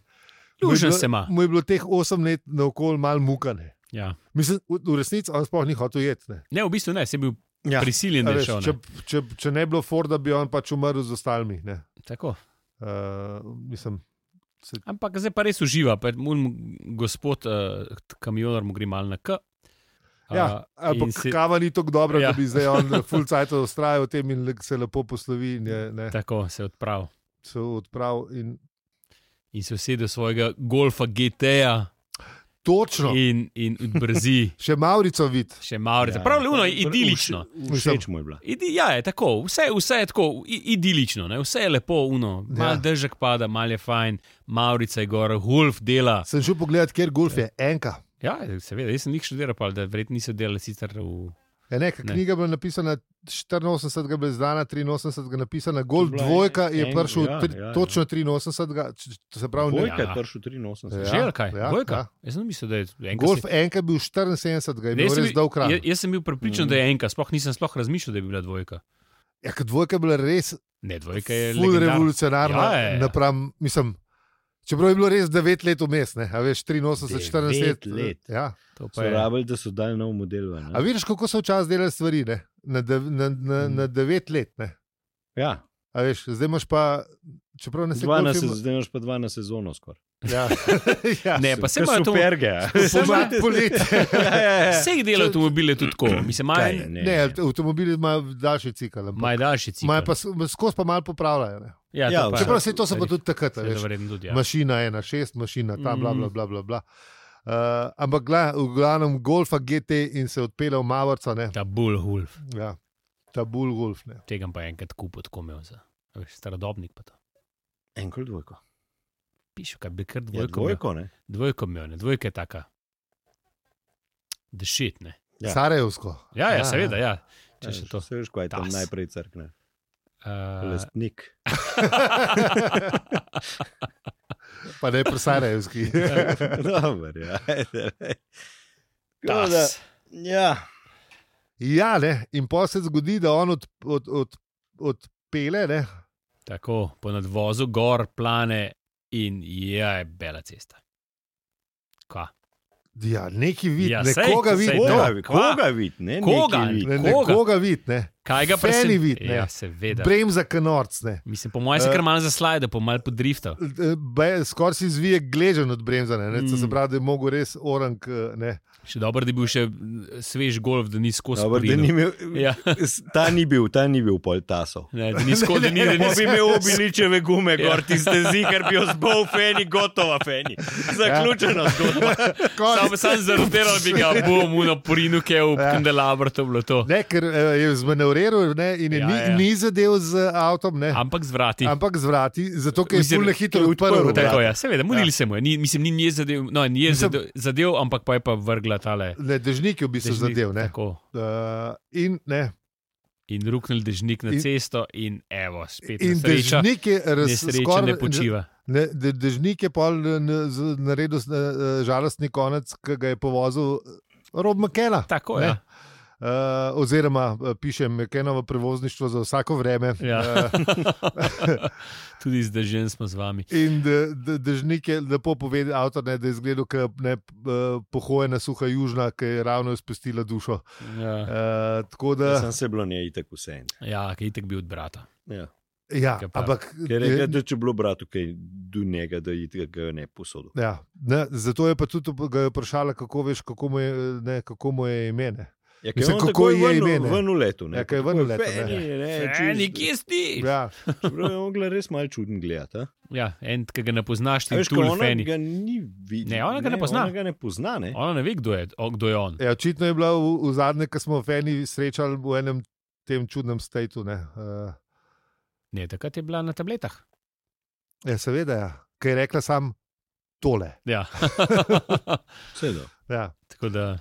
Speaker 4: Lušen
Speaker 2: bilo,
Speaker 4: se ima.
Speaker 2: mu je bilo teh osem let naokol malo mukane.
Speaker 4: Ja.
Speaker 2: Mislim, v, v resnici on sploh ni hotel jeti. ne.
Speaker 4: Ne, v bistvu ne, si bil
Speaker 1: Ja.
Speaker 4: ja. prisiljen,
Speaker 2: A
Speaker 4: da je
Speaker 2: veš,
Speaker 4: šel.
Speaker 2: Če,
Speaker 4: ne.
Speaker 2: če, če ne bi bilo Forda, bi on pač umrl z ostalimi. ne.
Speaker 4: Tako.
Speaker 2: Uh, mislim,
Speaker 4: Ampak zdaj pa res uživa, pa mun, gospod uh, kamionar mu gre mal na K.
Speaker 2: ja,
Speaker 4: A, in
Speaker 2: ampak
Speaker 4: si-
Speaker 2: si... kava ni tako dobra, ja.
Speaker 4: Ja.
Speaker 2: da bi zdaj on full cajt ustrajal v tem in le- se lepo poslovi in je, ne,
Speaker 4: Tako se je odpravil
Speaker 2: se odpravil. In...
Speaker 4: in se usedel svojega golfa GT-ja
Speaker 2: Točno.
Speaker 4: in, in brzi.
Speaker 2: še Maurico vid.
Speaker 4: Še malo, ja, prav luno, idilično.
Speaker 1: Všeč- Všeč mu je bila.
Speaker 4: Idi, ja, je tako, vse, vse je tako i- idilično, ne? vse je lepo, uno.
Speaker 2: Ja.
Speaker 4: Mal ja. držek pada, mal je fajn, Maurica je gor, Hulf dela.
Speaker 2: Sem šel pogledat, kjer golf je enka.
Speaker 4: Ja, seveda, jaz sem jih še delal, pa da verjetno niso delali sicer v
Speaker 2: Ja, ne, ne. Knjiga je bila napisana 84, je bila izdana 83, je napisana Gold bila, Dvojka je
Speaker 1: en-
Speaker 2: prišel
Speaker 1: ja,
Speaker 2: ja,
Speaker 1: ja, ja.
Speaker 2: ja, točno 83, č- č- se pravi, ne.
Speaker 1: Dvojka je
Speaker 4: Ja.
Speaker 1: pršel 83.
Speaker 2: Ja.
Speaker 4: Že ali kaj?
Speaker 2: ja,
Speaker 4: Dvojka?
Speaker 2: ja.
Speaker 4: Jaz sem mislil, da je enkrat.
Speaker 2: Golf enka je bil 74, je
Speaker 4: Ne,
Speaker 2: bil
Speaker 4: jaz sem
Speaker 2: res
Speaker 4: bil-
Speaker 2: dolg Mhm. kraj.
Speaker 4: jaz- Jaz sem bil pripričan,
Speaker 1: Mm.
Speaker 4: da je enka, sploh nisem sploh razmišljal, da je bila dvojka.
Speaker 2: Ja, ker dvojka je bila res
Speaker 4: Ne, dvojka je
Speaker 2: ful
Speaker 4: legendarna.
Speaker 2: revolucionarna.
Speaker 4: Ja, ja, ja.
Speaker 2: Napram, mislim, čeprav je bilo res 9 let vmes, ne, a veš, 83, 40
Speaker 1: Devet let. Mm.
Speaker 2: Ja.
Speaker 4: To pa
Speaker 1: So
Speaker 4: je-
Speaker 1: rabili, da so dali nov model. ven, ne.
Speaker 2: A vidiš, kako so včasih delali stvari, ne? Na, dev, na, na, na 9 let. Ne?
Speaker 1: Ja,
Speaker 2: A veš, zdaj imaš pa, čeprav ne se
Speaker 1: dva na
Speaker 2: golf ima-
Speaker 1: sezono, zdaj imaš pa dva na sezono skoraj.
Speaker 2: Ja. ja.
Speaker 4: Ne, pa se
Speaker 1: Ke
Speaker 4: imajo to. Ja,
Speaker 1: superge. a.
Speaker 2: Pomlad, poletje.
Speaker 1: Ja, ja, ja.
Speaker 4: Vseh delov avtomobile tudi tako. Mislim,
Speaker 1: Kaj,
Speaker 4: imajo
Speaker 2: Ne, avtomobili imajo daljši cikl. ampak
Speaker 4: imajo daljši cilj.
Speaker 2: Imajo pa s- skozi pa malo popravljajo. ne.
Speaker 1: Ja,
Speaker 4: to pa je-
Speaker 2: Čeprav se to so pa tudi takrat. a
Speaker 4: Seveda,
Speaker 2: Veš,
Speaker 4: verjetno tudi, ja.
Speaker 2: mašina ena, šest, mašina ta, bla,
Speaker 4: Mhm.
Speaker 2: bla, bla. bla, bla. Uh, ampak, gla, v glavnem, golfa GT in se odpele v Mavrca, ne.
Speaker 4: Ta bull hulf,
Speaker 2: Ja. Ta bull golf. Ne.
Speaker 4: tega pa je enkrat kupil, tako imel za. a Veš, starodobnik pa to.
Speaker 1: Enkrat dvojko.
Speaker 4: Piše, kaj bi kar
Speaker 1: Ja,
Speaker 4: Ja, dvojko. imel.
Speaker 1: dvojko, ne?
Speaker 4: Dvojko imel, ne, dvojka je taka. Dešit, ne.
Speaker 1: Ja.
Speaker 2: Sarajevsko.
Speaker 4: Ja, ja, seveda, ja. Če
Speaker 1: Ja,
Speaker 4: še to.
Speaker 1: Se veš, kaj tam
Speaker 4: Tas.
Speaker 1: najprej crkne.
Speaker 4: Uh,
Speaker 1: Lastnik.
Speaker 2: Pa ne pri Sarajevski.
Speaker 1: Dober, ja. Tako da,
Speaker 4: tas.
Speaker 1: ja.
Speaker 2: ja, ne. In pa se zgodi, da on od, od, od, odpele, ne.
Speaker 4: Tako, po nadvozu gor, plane in ja, je bela cesta. Kva?
Speaker 2: Ja, neki vid,
Speaker 4: Ja,
Speaker 2: ja,
Speaker 4: sej,
Speaker 2: nekoga
Speaker 4: sej,
Speaker 2: vidi,
Speaker 4: to.
Speaker 2: no,
Speaker 1: Koga, koga vid, ne?
Speaker 4: Koga?
Speaker 1: Nekaj vid.
Speaker 2: ne,
Speaker 4: koga?
Speaker 2: nekoga vidi, ne.
Speaker 4: Kaj ga
Speaker 2: Feni
Speaker 4: presen-
Speaker 2: vid, ne.
Speaker 4: Ja, seveda.
Speaker 2: Brem za kanorc, ne.
Speaker 4: Mislim, po mojem se
Speaker 2: Eh.
Speaker 4: kar malo zaslajda, po malo podriftal.
Speaker 2: Eh, be- Skoraj si zvije gležen od bremzanja, ne, to
Speaker 4: Mm.
Speaker 2: se pravi, da je mogel res orang. eh, Ne.
Speaker 4: Še dobro, da je bil še mm, svež golf, da ni skozi
Speaker 1: Dobar, da
Speaker 4: porinil.
Speaker 1: ni imel,
Speaker 4: Ja.
Speaker 1: s- Ta ni bil, ta ni bil pol tasov.
Speaker 4: Ne, da ni skozi, da ni
Speaker 1: Ne,
Speaker 4: da
Speaker 1: ne
Speaker 4: ni-
Speaker 1: bi imel obiličeve gume,
Speaker 4: Ja.
Speaker 1: gor tiste zikar bi ozbol feni, gotova feni.
Speaker 2: Ja.
Speaker 1: Zaključeno zgodba.
Speaker 4: Sam, sam zarotiral bi ga, bom unaporinu, ki je v
Speaker 2: Ja.
Speaker 4: kandelabru, to je bilo to.
Speaker 2: Ne, ker eh, je zmanevriral ne, in je
Speaker 4: Ja,
Speaker 2: ja, ni,
Speaker 4: ja.
Speaker 2: ja. ni zadev z avtom, ne,
Speaker 4: Ampak zvrati.
Speaker 2: ampak z vrati, zato ker je
Speaker 4: Mislim,
Speaker 2: zelo
Speaker 1: ker
Speaker 2: hitro
Speaker 1: je
Speaker 2: odprl.
Speaker 1: odprl,
Speaker 2: vrata.
Speaker 4: Tako, ja, seveda, mudili se mu je. Ni, mislim, ni nje zadev, no, ni je
Speaker 2: Mislim-
Speaker 4: zadev, zadev, ampak pa je pa vrgla tale.
Speaker 2: Ne, dežnik je v bistvu
Speaker 4: dežnik,
Speaker 2: zadev. Ne.
Speaker 4: Tako.
Speaker 2: Uh, in ne,
Speaker 4: In ruknil dežnik na
Speaker 2: In-
Speaker 4: cesto, in evo, spet
Speaker 2: in
Speaker 4: nesreča.
Speaker 2: dežnik je
Speaker 4: Nesreča ne
Speaker 2: razumel.
Speaker 4: počiva.
Speaker 2: Dežnik je pol eh, n- z- naredil eh, eh, žalostni konec, ki ga je povozil eh, Rob McKenna.
Speaker 4: Tako
Speaker 2: Ne.
Speaker 4: je. Ja.
Speaker 2: Uh, oziroma, eh, piše Mekenovo prevozništvo za vsako vreme.
Speaker 4: Ja.
Speaker 2: Eh,
Speaker 4: Tudi zdaj žen smo z vami.
Speaker 2: in de- de- dežnik je lepo povedal, avtor, ne, da je zgledal, kot ne eh, pohojena suha južna, ki je ravno izpustila dušo. Uh,
Speaker 4: Ja,
Speaker 2: tako
Speaker 1: Ah. Ja,
Speaker 2: da,
Speaker 1: Sam se bilo njej tako vse en.
Speaker 4: ja ki je itek bil od brata.
Speaker 1: Ja.
Speaker 2: ja,
Speaker 4: Kaj pa?
Speaker 2: ampak.
Speaker 1: Ker je rekel, da če bi bilo bratu kaj do njega, da ji tega ga ne posodil.
Speaker 2: Ja, ne, zato je pa tudi op- ga je vprašala, kako veš, kako mu je, ne, kako mu je ime. ne.
Speaker 1: Ja, ker
Speaker 2: Mislim,
Speaker 1: on
Speaker 2: kako
Speaker 1: takoj
Speaker 2: je
Speaker 1: ven v-
Speaker 2: ime, ne?
Speaker 1: Ven v letu. Ne?
Speaker 2: Ja, ker je ven v letu, ne.
Speaker 1: E,
Speaker 4: Eni, kje si?
Speaker 2: Ja,
Speaker 1: Prav je mogla res malo čuden gledati. a?
Speaker 4: Ja, en, ki ga ne poznaš,
Speaker 1: A
Speaker 4: ti
Speaker 1: Veš,
Speaker 4: veš,
Speaker 1: ko
Speaker 4: kako
Speaker 1: ona
Speaker 4: je.
Speaker 1: ga ni videla.
Speaker 4: Ne, ona ga ne pozna.
Speaker 1: Ona ga ne pozna, ne?
Speaker 4: Ona ne ve, kdo je, o, kdo je on.
Speaker 2: ja, očitno je bila v, v zadnje, ki smo v Feni srečali v enem tem čudnem stateu. Uh,
Speaker 4: Ne, takrat je bila na tabletah.
Speaker 2: ja, seveda, ja. ker je rekla sam tole.
Speaker 4: Ja.
Speaker 1: Vseeno.
Speaker 2: Ja.
Speaker 4: Tako da,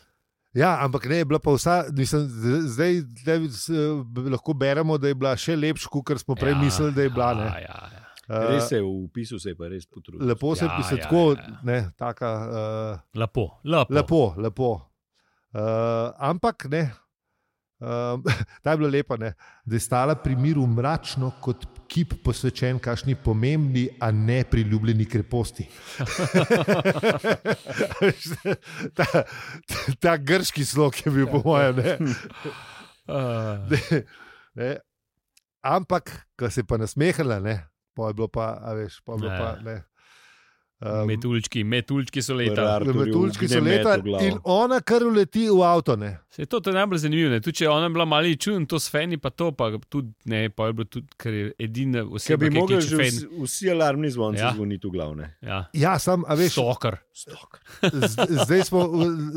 Speaker 2: Ja, ampak ne, je bila pa vsa, mislim, z- zdaj tle, s, eh, lahko beremo, da je bila še lepša, kot smo prej
Speaker 4: ja,
Speaker 2: ja, mislili, da je bila.
Speaker 4: Ja,
Speaker 2: Ne.
Speaker 4: ja, ja.
Speaker 2: Eh,
Speaker 1: Res se je v opisu se je pa res potrudil.
Speaker 2: lepo se
Speaker 4: Ja,
Speaker 2: piše,
Speaker 4: ja,
Speaker 2: tako,
Speaker 4: ja, ja.
Speaker 2: ne, taka,
Speaker 4: Lepo, lepo.
Speaker 2: uh, lepo, lepo. Uh, ampak ne, um, ta je bila lepa, ne, da je stala pri miru mračno kot kip posvečen kašni pomembni, a ne priljubljeni kreposti. ta, ta, ta grški slog je bil, po mojem,
Speaker 4: Ja.
Speaker 2: ne.
Speaker 4: Uh,
Speaker 2: Ne, ne. Ampak, ko se je pa nasmehala, ne, pa je bilo pa, a veš, pa je bilo
Speaker 4: Ja.
Speaker 2: pa. Ne, um,
Speaker 4: metulčki, metulčki so leta.
Speaker 1: Ferrari. Arturju
Speaker 2: Metulčki so
Speaker 1: ugne met
Speaker 2: leta
Speaker 1: v glavo.
Speaker 2: in ona kar uleti v avto. Ne.
Speaker 4: Se, to, to je najbolj zanimivo. ne. Tudi če je ona bila malo čudna, to s feni, pa to pa tudi ne, pa je bilo tudi, ker je edina
Speaker 1: Ker
Speaker 4: oseba,
Speaker 1: bi
Speaker 4: ki je
Speaker 1: mogli
Speaker 4: kliče
Speaker 1: že
Speaker 4: fen.
Speaker 1: vsi, vsi alarmni zvonci
Speaker 4: Ja.
Speaker 1: ja. zvoniti v glavne.
Speaker 4: Ja.
Speaker 2: Ja, sam, a veš,
Speaker 4: Sokar.
Speaker 2: z- zdaj smo,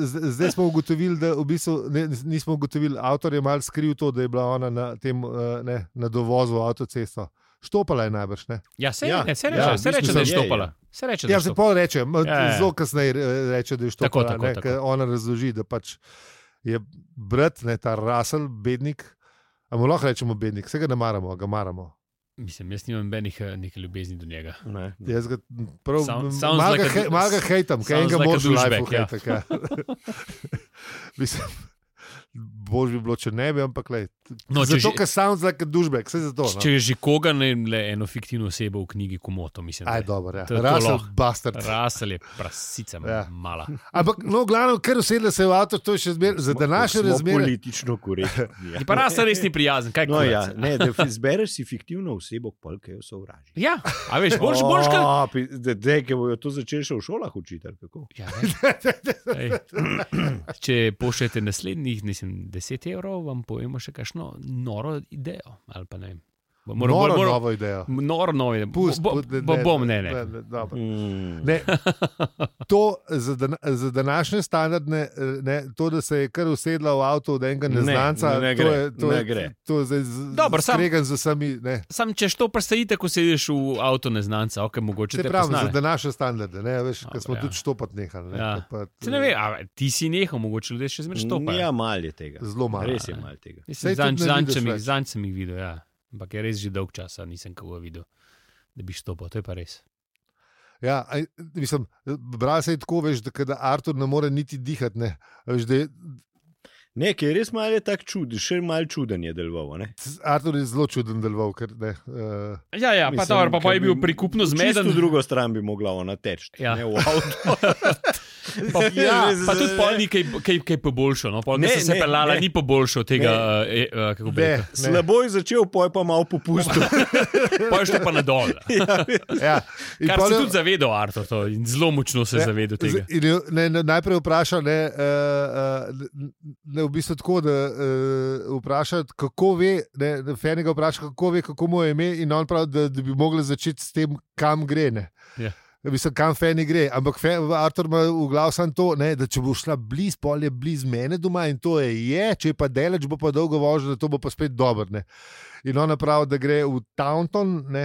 Speaker 2: z- zdaj smo ugotovili, da v bistvu, ne, nismo ugotovili, avtor je mal skril to, da je bila ona na, tem, eh, ne, na dovozu avtocesto. Štopala je najbrž. Ne?
Speaker 4: Ja, se, ja,
Speaker 1: Ja,
Speaker 4: ne, se
Speaker 1: ja,
Speaker 4: reče, ja,
Speaker 1: v
Speaker 4: se
Speaker 1: bistvu
Speaker 4: reče
Speaker 1: se
Speaker 4: da je
Speaker 1: je, ja.
Speaker 4: štopala. Se reče, da je
Speaker 2: Ja, se
Speaker 4: štopala.
Speaker 2: pol reče, ma,
Speaker 4: Ja, ja.
Speaker 2: zelo kasneje eh, reče, da je
Speaker 4: Tako,
Speaker 2: štopala.
Speaker 4: tako,
Speaker 2: ne,
Speaker 4: tako.
Speaker 2: ker Ona razloži, da pač je brat, ne, ta rasel, bednik. A mu lahko rečemo bednik, vse ga ne maramo, ga maramo.
Speaker 4: Mislim, jaz nimam nobenih eh, neke ljubezni do njega.
Speaker 1: Ne, ne.
Speaker 2: Jaz ga prav
Speaker 4: Sound- sounds
Speaker 2: malo
Speaker 4: like
Speaker 2: ga
Speaker 4: a
Speaker 2: hej-
Speaker 4: du-
Speaker 2: malo ga hejtam, kaj
Speaker 4: sounds
Speaker 2: enega
Speaker 4: like a
Speaker 2: moraš v lifeu
Speaker 4: douchebag, ja.
Speaker 2: hejtati. ja. Mislim, Bož bi bilo, če ne bi, ampak le.
Speaker 4: No, če
Speaker 2: zato,
Speaker 4: že-
Speaker 2: ker sounds like a dušbek, vse zato.
Speaker 4: Če
Speaker 2: No.
Speaker 4: je že koga, ne vem, le eno fiktivno osebo v knjigi Komoto, mislim.
Speaker 2: Aj,
Speaker 4: da je.
Speaker 2: dobro, ja.
Speaker 4: To je to
Speaker 2: rasel,
Speaker 4: lahko.
Speaker 2: bastard.
Speaker 4: Rasel je prasica,
Speaker 2: Ja.
Speaker 4: ja. mala.
Speaker 2: Ampak, no, glavno, ker usedle se v avto, to je še zmeraj, za današnje
Speaker 1: Smo
Speaker 2: razmere.
Speaker 1: Politično korektno.
Speaker 4: Je Ja. pa rasel res ni prijazen, kaj
Speaker 1: No,
Speaker 4: kurac?
Speaker 1: ja, ne, da izbereš si fiktivno osebo, pol, ki jo sovražiš.
Speaker 4: Ja, a veš, boš, boš kaj.
Speaker 1: Zdaj, ki bojo to začeli še v šolah učiti. ali kako?
Speaker 4: Ja, ne. Ej, če pošljete naslednjih mislim, 10 evrov, vam povemo še kakšno noro idejo. ali pa ne vem. Bo- moram-
Speaker 2: Noro,
Speaker 4: moram-
Speaker 2: novo idejo.
Speaker 4: Noro, nove.
Speaker 2: Pust,
Speaker 4: bo,
Speaker 2: put,
Speaker 4: bo, bo, bom, ne, ne.
Speaker 2: ne, dobro.
Speaker 1: Mm.
Speaker 2: Ne, to za, dan, za današnje standardne, eh, ne, to, da se je kar usedla v avto od enega
Speaker 1: Ne,
Speaker 2: neznanca,
Speaker 1: ne
Speaker 2: to
Speaker 1: gre,
Speaker 2: je- to
Speaker 1: ne
Speaker 2: je-
Speaker 1: gre.
Speaker 2: to je zdaj
Speaker 4: Dobro, sam-
Speaker 2: skregan za sami. Ne.
Speaker 4: Sam če to prestajite, ko sediš v avtu neznanca, ok, mogoče
Speaker 2: Se
Speaker 4: te
Speaker 2: pravi, za
Speaker 4: poznane.
Speaker 2: današnje standarde, ne, veš, ker
Speaker 4: Dobro,
Speaker 2: smo
Speaker 4: ja.
Speaker 2: tudi štopat nehali. Ne,
Speaker 4: Ja.
Speaker 2: pa,
Speaker 4: Se ne ve, a ti si nehal, mogoče ljudje še zmeraj to.
Speaker 1: Ja, malo je tega.
Speaker 2: Zelo malo.
Speaker 1: Res je malo tega.
Speaker 2: Saj tudi ne vidiš več.
Speaker 4: Zanj sem jih videl, ja. ampak je res že dolg časa nisem koga videl, da bi štopil, to je pa res.
Speaker 2: Ja, a, mislim, bral se je tako, veš, da, ke da Artur ne more niti dihati. Ne, A veš, da je,
Speaker 1: Nekaj res malo je tako čuden, še malo čuden je deloval. ne.
Speaker 2: Artur je zelo čuden deloval. Ker, ne, uh,
Speaker 4: Ja, ja, pa
Speaker 1: Mislim,
Speaker 4: dobro, pa, pa je
Speaker 1: ker
Speaker 4: bil
Speaker 1: bi
Speaker 4: prikupno
Speaker 1: Zmeden.
Speaker 4: zmeden.
Speaker 1: V drugo stran bi mogla ona teči.
Speaker 4: Ja.
Speaker 1: Ne, v avto.
Speaker 4: Pa, ja,
Speaker 1: Res,
Speaker 4: pa
Speaker 2: eh.
Speaker 4: tudi pol ni kaj, kaj, kaj poboljšal. No? Pol, ne,
Speaker 1: Ne,
Speaker 4: se
Speaker 1: ne,
Speaker 4: je pelala,
Speaker 1: ne.
Speaker 4: ni poboljšal tega, eh, eh, kako bi
Speaker 2: ne,
Speaker 4: rekel.
Speaker 2: ne.
Speaker 1: Slabo je začel, poj pa malo popustil.
Speaker 4: Ja. Pa je šlo pa na dol.
Speaker 2: Ja. In
Speaker 4: Kar
Speaker 2: pol
Speaker 4: se je
Speaker 2: je-
Speaker 4: tudi zavedal, Artur, to, in zelo močno se je
Speaker 2: Ja,
Speaker 4: zavedal
Speaker 2: z-
Speaker 4: tega.
Speaker 2: in je- Ne, ne, najprej vpraša, ne, uh, ne, v bistvu tako, da uh, vpraša, kako ve, ne, da Fenega vpraša, kako ve, kako mu je ime, in on pravi, da, da bi mogli začeti s tem, kam gre. Ne.
Speaker 4: Ja.
Speaker 2: Mislim, kam Feni gre. Ampak Fe, Artur ima v glavu samo to, ne, da če bo šla blizu, pol je blizu mene doma in to je, je če je pa delač, bo pa dolgo vožnja, da to bo pa spet dobro. ne. In ona pravi, da gre v Taunton, ne,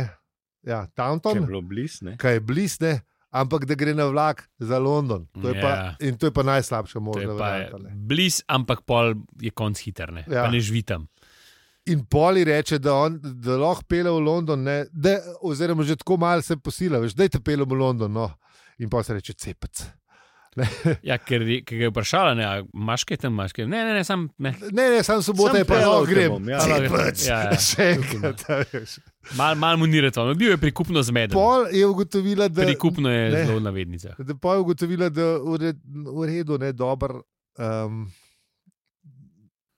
Speaker 2: ja,
Speaker 1: To je
Speaker 2: Taunton
Speaker 1: bilo blizu. ne.
Speaker 2: kaj je blizne, ampak da gre na vlak za London. To je pa,
Speaker 4: Ja.
Speaker 2: in to je pa najslabša
Speaker 4: To je
Speaker 2: možna
Speaker 4: pa
Speaker 2: varianta. ne.
Speaker 4: bliz, ampak pol je konc hiter, ne,
Speaker 2: Ja.
Speaker 4: ja. ne žvitam.
Speaker 2: In Poli reče, da, on, da lahko pele v London, ne, da, oziroma že tako malo se posila, veš, da je te pele v London. No. In pa se reče cepec.
Speaker 4: Ja, ker, je- ker ga je vprašala, ne, a imaš kaj tam, imaš kaj. Ne, ne, ne, sam ne.
Speaker 2: Ne, ne, sam sobota
Speaker 1: Samo
Speaker 2: je pa
Speaker 1: pel
Speaker 2: zelo
Speaker 1: te
Speaker 2: grem.
Speaker 1: bom, ja.
Speaker 2: Cepec.
Speaker 4: Ja, ja.
Speaker 2: Še enkrat. a veš.
Speaker 4: Mal, mal mu ni reto, no, bil je prikupno zmeden.
Speaker 2: Pol je ugotovila, da,
Speaker 4: Prikupno je
Speaker 2: ne.
Speaker 4: ne. zelo v navednicah.
Speaker 2: da, pol je ugotovila, da je v redu, ne dober. Um,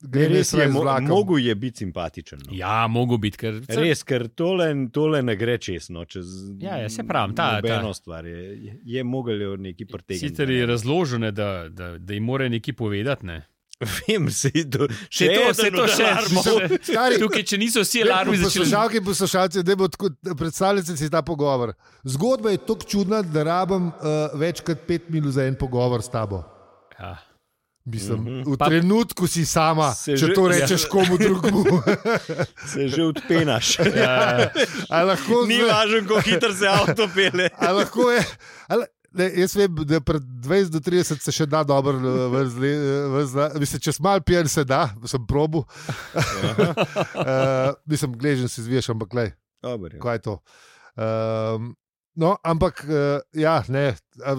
Speaker 1: Ne,
Speaker 2: gre
Speaker 1: res je, mo
Speaker 2: mogoče.
Speaker 1: mogel je biti simpatičen. No.
Speaker 4: Ja, mogo biti, ker
Speaker 1: Res, ker tole, tole ne gre česno. Čez
Speaker 4: Ja, ja, saj pravim, ta-
Speaker 1: ena
Speaker 4: ta-
Speaker 1: stvar je, je mogel jo neki pretegniti.
Speaker 4: Sicer je razloženo, da, da, da jim mora nekaj povedati. Ne.
Speaker 1: Vem, se je to
Speaker 4: Še to, se to še
Speaker 1: zelo.
Speaker 2: Stari,
Speaker 4: Tukaj, če niso vsi alarmi začeli.
Speaker 2: Poslušalke in poslušalci, da bo tako, predstavljajte si ta pogovor. Zgodba je tako čudna, da rabim uh, več kot pet minut za en pogovor s tabo.
Speaker 4: Ja.
Speaker 2: Mislim, mm -hmm. V pa, trenutku si sama,
Speaker 1: Se
Speaker 2: če že,
Speaker 1: že-
Speaker 2: to rečeš ja. komu drugemu.
Speaker 1: Se že odpenaš.
Speaker 4: Ja.
Speaker 1: Ja.
Speaker 2: A lahko
Speaker 1: Ni
Speaker 2: z-
Speaker 1: važno, kako hitro se avto pele.
Speaker 2: a lahko je. Ali, Ne, jaz vem, da pred 20 do 30 se še da dobro eh, vrsti. Če si mal pijan, se da, sem probu. uh, mislim, gležen si zviješ, ampak le.
Speaker 1: Dobar, ja.
Speaker 2: kaj je to. Um, no, ampak, uh, ja, ne, a,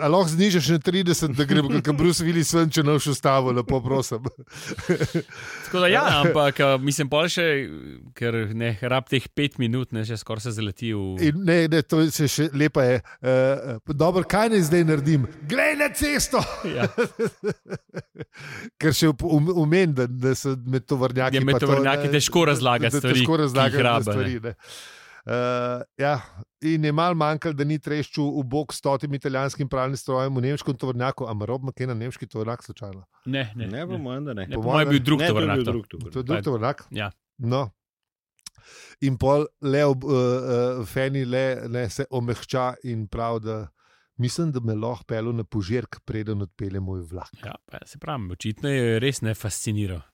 Speaker 2: a lahko znižaš na 30, da gremo kot Bruce Willis ven, če noš ustavo, lepo prosim.
Speaker 4: Ja. Tako da, ja, ampak a, mislim, pol še, ker ne rab teh pet minut, ne, že skoraj se zaleti v.
Speaker 2: In ne, ne, to se še lepa je. Uh, dobro, kaj naj zdaj naredim? Glej na cesto!
Speaker 4: Ja.
Speaker 2: Ker še um, umem, da, da so med tovrnjaki.
Speaker 4: Ja, med
Speaker 2: pa to,
Speaker 4: tovornjaki
Speaker 2: ne,
Speaker 4: težko razlagati
Speaker 2: da
Speaker 4: stvari,
Speaker 2: Težko
Speaker 4: ki jih
Speaker 2: razlagati
Speaker 4: rabe,
Speaker 2: te stvari. Ne. Uh, ja, in je mal manjkalo, da ni treščil v bok s stotim italijanskim pravnim strojem v nemškem tovornjaku, a rob makena nemški tovornjak slučajno.
Speaker 4: Ne, ne,
Speaker 1: Ne, po mojem, da ne.
Speaker 4: ne.
Speaker 2: po
Speaker 4: Po mojem je bil
Speaker 2: mojem-
Speaker 1: Ne, to je
Speaker 4: Ja. drug tovrnak.
Speaker 1: bil
Speaker 4: to.
Speaker 1: drug
Speaker 2: To je
Speaker 1: tovornjak.
Speaker 2: drug
Speaker 4: Pa-
Speaker 2: tovornjak.
Speaker 4: ja.
Speaker 2: No. In pol le ob uh, uh, Feni le, le se omehča in pravi, da mislim, da me lahko pelo na požirk, preden odpelje moj vlak.
Speaker 4: Ja, pa se pravi, očitno je res ne fasciniral.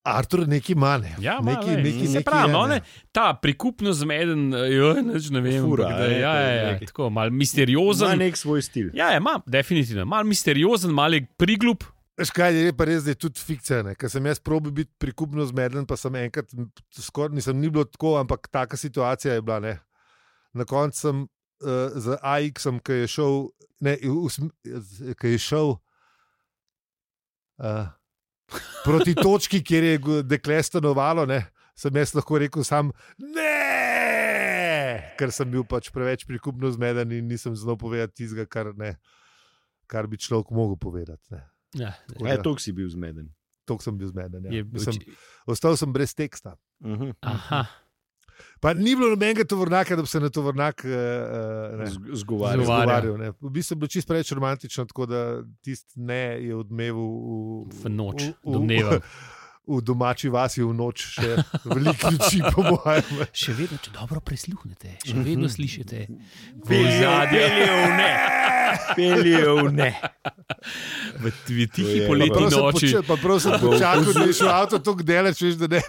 Speaker 2: Artur neki mane.
Speaker 4: Ja, ma,
Speaker 2: neki,
Speaker 4: lej,
Speaker 2: neki,
Speaker 4: se
Speaker 2: neki,
Speaker 4: pravi,
Speaker 2: ja,
Speaker 4: no,
Speaker 2: ne.
Speaker 4: ne, ta prikupno zmeden, jo, neč, ne vem,
Speaker 1: Fura,
Speaker 4: ampak da,
Speaker 1: ne,
Speaker 4: ja,
Speaker 1: to je
Speaker 4: ja, ja,
Speaker 1: neki-
Speaker 4: tako malo
Speaker 1: Ima
Speaker 4: misteriozen.
Speaker 1: nek svoj stil.
Speaker 4: Ja, ja, ima, definitivno, malo misteriozen, malo je priglup.
Speaker 2: Veš Kaj je pa res, da je tudi fikcija. ne, Ker sem jaz probil biti prikupno zmeden, pa sem enkrat, m, skoraj nisem ni bilo tako, ampak taka situacija je bila. Ne. Na koncu sem uh, z AX-om, ki je šel, ne, v sm- z- ki je šel uh, proti točki, kjer je go- dekle stanovalo, ne, sem jaz lahko rekel sam ne, ker sem bil pač preveč prikupno zmeden in nisem znal povedati tistega, kar, ne, kar bi človek mogel povedati. Ne.
Speaker 4: Ja,
Speaker 2: Tako
Speaker 1: Ja,
Speaker 2: da-
Speaker 1: to si bil zmeden.
Speaker 2: Tako sem bil zmeden.
Speaker 4: je,
Speaker 2: Ja. Mislim,
Speaker 4: oči-
Speaker 2: ostal sem brez teksta.
Speaker 1: Mhm.
Speaker 4: aha,
Speaker 2: Pa ni bilo nobenega tovornjaka, da bi se na tovornjak eh, eh, ne,
Speaker 1: Z- Zgovarjal.
Speaker 4: Ja. Zgovarjal.
Speaker 2: izgovarjal, ne. V bistvu je bilo čisto preveč romantično, tako da tisti ne je odmeval v,
Speaker 4: v noč,
Speaker 2: v- v-
Speaker 4: domnevam.
Speaker 2: V domači vasi v noč še veliko ljudi, po mojem.
Speaker 4: Še vedno, če dobro prisluhnete, še vedno slišite,
Speaker 1: Peljev ne. Peljev ne.
Speaker 4: v, v tihi
Speaker 1: je-
Speaker 4: poletni
Speaker 2: Prav sem
Speaker 4: noči.
Speaker 2: počel- pa Prav sem počakal, da je šel avto tako delač, veš, da ne,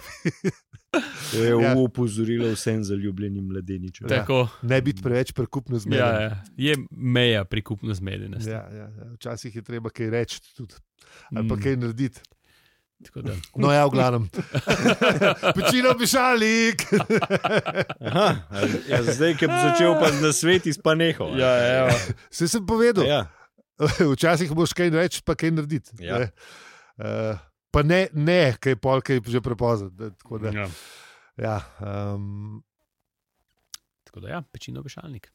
Speaker 1: To je ja.
Speaker 2: Ja.
Speaker 1: upozorilo vsem zaljubljenim mladeničem.
Speaker 4: Tako,
Speaker 2: ne biti preveč prekupno
Speaker 4: ja,
Speaker 2: zmeden.
Speaker 4: ja, je meja prikupno zmedenosti.
Speaker 2: Ja, ja, ja. Včasih je treba kaj reči tudi, ali pa
Speaker 4: Mm.
Speaker 2: kaj narediti.
Speaker 4: Tako da,
Speaker 2: No, ja, v glavnem. Večino bi šalik.
Speaker 1: Aha, ali- ja, zdaj, ki bi začel pa na svet, pa nehal.
Speaker 4: ja, ja, ja.
Speaker 2: Vse sem povedal. Ja.
Speaker 1: Ja,
Speaker 2: Včasih moš kaj reči, pa kaj narediti.
Speaker 1: Ja.
Speaker 2: Ne? Uh, pa ne, ne, kaj pol, kaj je že prepozno. da- tako da,
Speaker 4: Ja.
Speaker 2: Ja, um,
Speaker 4: Tako da, ja, pečino vešalnik.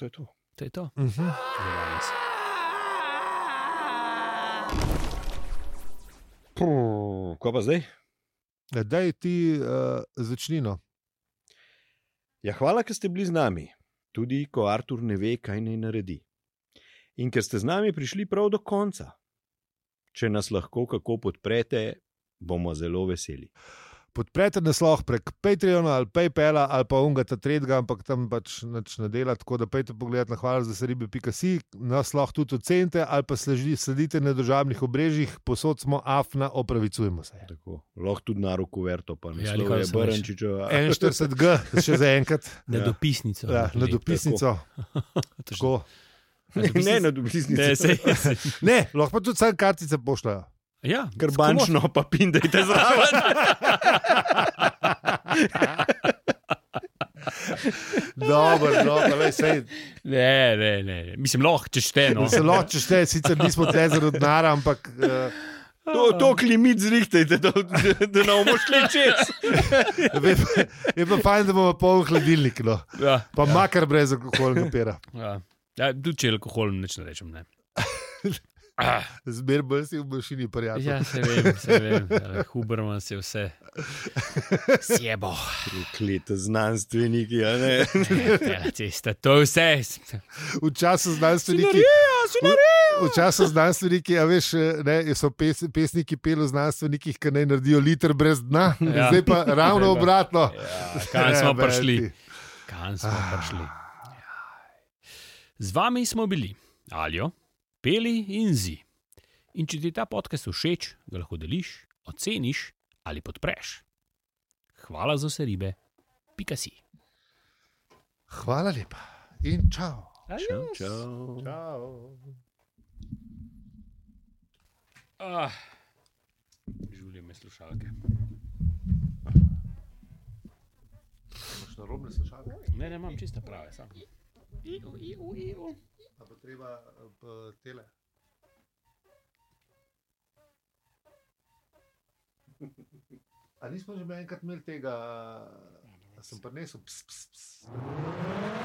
Speaker 1: to je to.
Speaker 4: To je to.
Speaker 2: uh -huh.
Speaker 4: za danes.
Speaker 1: Puh, Kaj pa zdaj?
Speaker 2: Eh, Daj ti uh, začnino.
Speaker 1: Ja, hvala, ker ste bili z nami, tudi ko Artur ne ve, kaj naj naredi. In ker ste z nami prišli prav do konca. Če nas lahko kako podprete, bomo zelo veseli.
Speaker 2: Podprete naslov prek Patreona ali PayPala ali pa unga ta tretjega, ampak tam pač nič ne dela. Tako da pejte pogled na hvala za seribe.si, naslov tudi ocenite ali pa sleži, sledite na državnih obrežjih, posod smo afna, opravicujemo se.
Speaker 1: Tako, lahko tudi na roko verto, pa ne
Speaker 4: Ja, ali
Speaker 1: ja,
Speaker 4: kaj
Speaker 1: je
Speaker 4: se veš.
Speaker 1: Brnčičeva.
Speaker 2: 41G, še za enkrat,
Speaker 4: Na
Speaker 1: Ja.
Speaker 4: dopisnico.
Speaker 2: ja, na dopisnico.
Speaker 4: Tako.
Speaker 2: Tako.
Speaker 1: ne, na dopisnici.
Speaker 4: Ne, sej, sej.
Speaker 2: Ne, lahko pa tudi sam kartice pošljajo.
Speaker 4: Ja,
Speaker 1: Ker
Speaker 4: tako
Speaker 1: bančno pa pindajte zraven.
Speaker 2: Dobro, dobro, lej, sej,
Speaker 4: mo- Ne, ne, ne. ne. Mislim, lahko češteno.
Speaker 2: zelo češte, sicer nismo te zaradi nara, ampak uh,
Speaker 1: To, to klimit zrihtajte, da, da, da ne bomo šli čez.
Speaker 2: je, pa- je pa fajn, da bomo poln hladilnik, no.
Speaker 4: Ja,
Speaker 2: pa ja. makar brez alkoholnega pera.
Speaker 4: ja. ja, tudi če je alkohol, nič ne rečem. Ne.
Speaker 2: Zmer bolj si v mašini, prijatelj.
Speaker 4: Ja, se vem, se vem. ja, Huberman se vse. Sjebo.
Speaker 1: Klete znanstveniki, a ne.
Speaker 4: Ja, cesta, to je vse.
Speaker 2: V času znanstveniki. V, v času znanstveniki, a veš, eh, ne, so pes, pesniki peli o znanstvenikih, ki naj naredijo liter brez dna, ja.
Speaker 4: Ja.
Speaker 2: zdaj pa ravno
Speaker 4: Zdaj pa-
Speaker 2: obratno.
Speaker 4: Ja, kam smo
Speaker 2: Ja, bej,
Speaker 4: prišli?
Speaker 2: ti. Ah.
Speaker 4: Kam smo prišli? Jaj. Z vami smo bili, alijo, peli in zi. In če ti je ta podcast všeč, ga lahko deliš, oceniš ali podpreš. Hvala za vse ribe, pika si.
Speaker 2: Hvala lepa in čau.
Speaker 1: Čau, čau.
Speaker 2: čau.
Speaker 4: Ah, življenje me slušalke. Ne, ne, imam čiste prave. Sam.
Speaker 2: Treba pa tele. A nismo že enkrat imeli tega, da sem prinesel psa.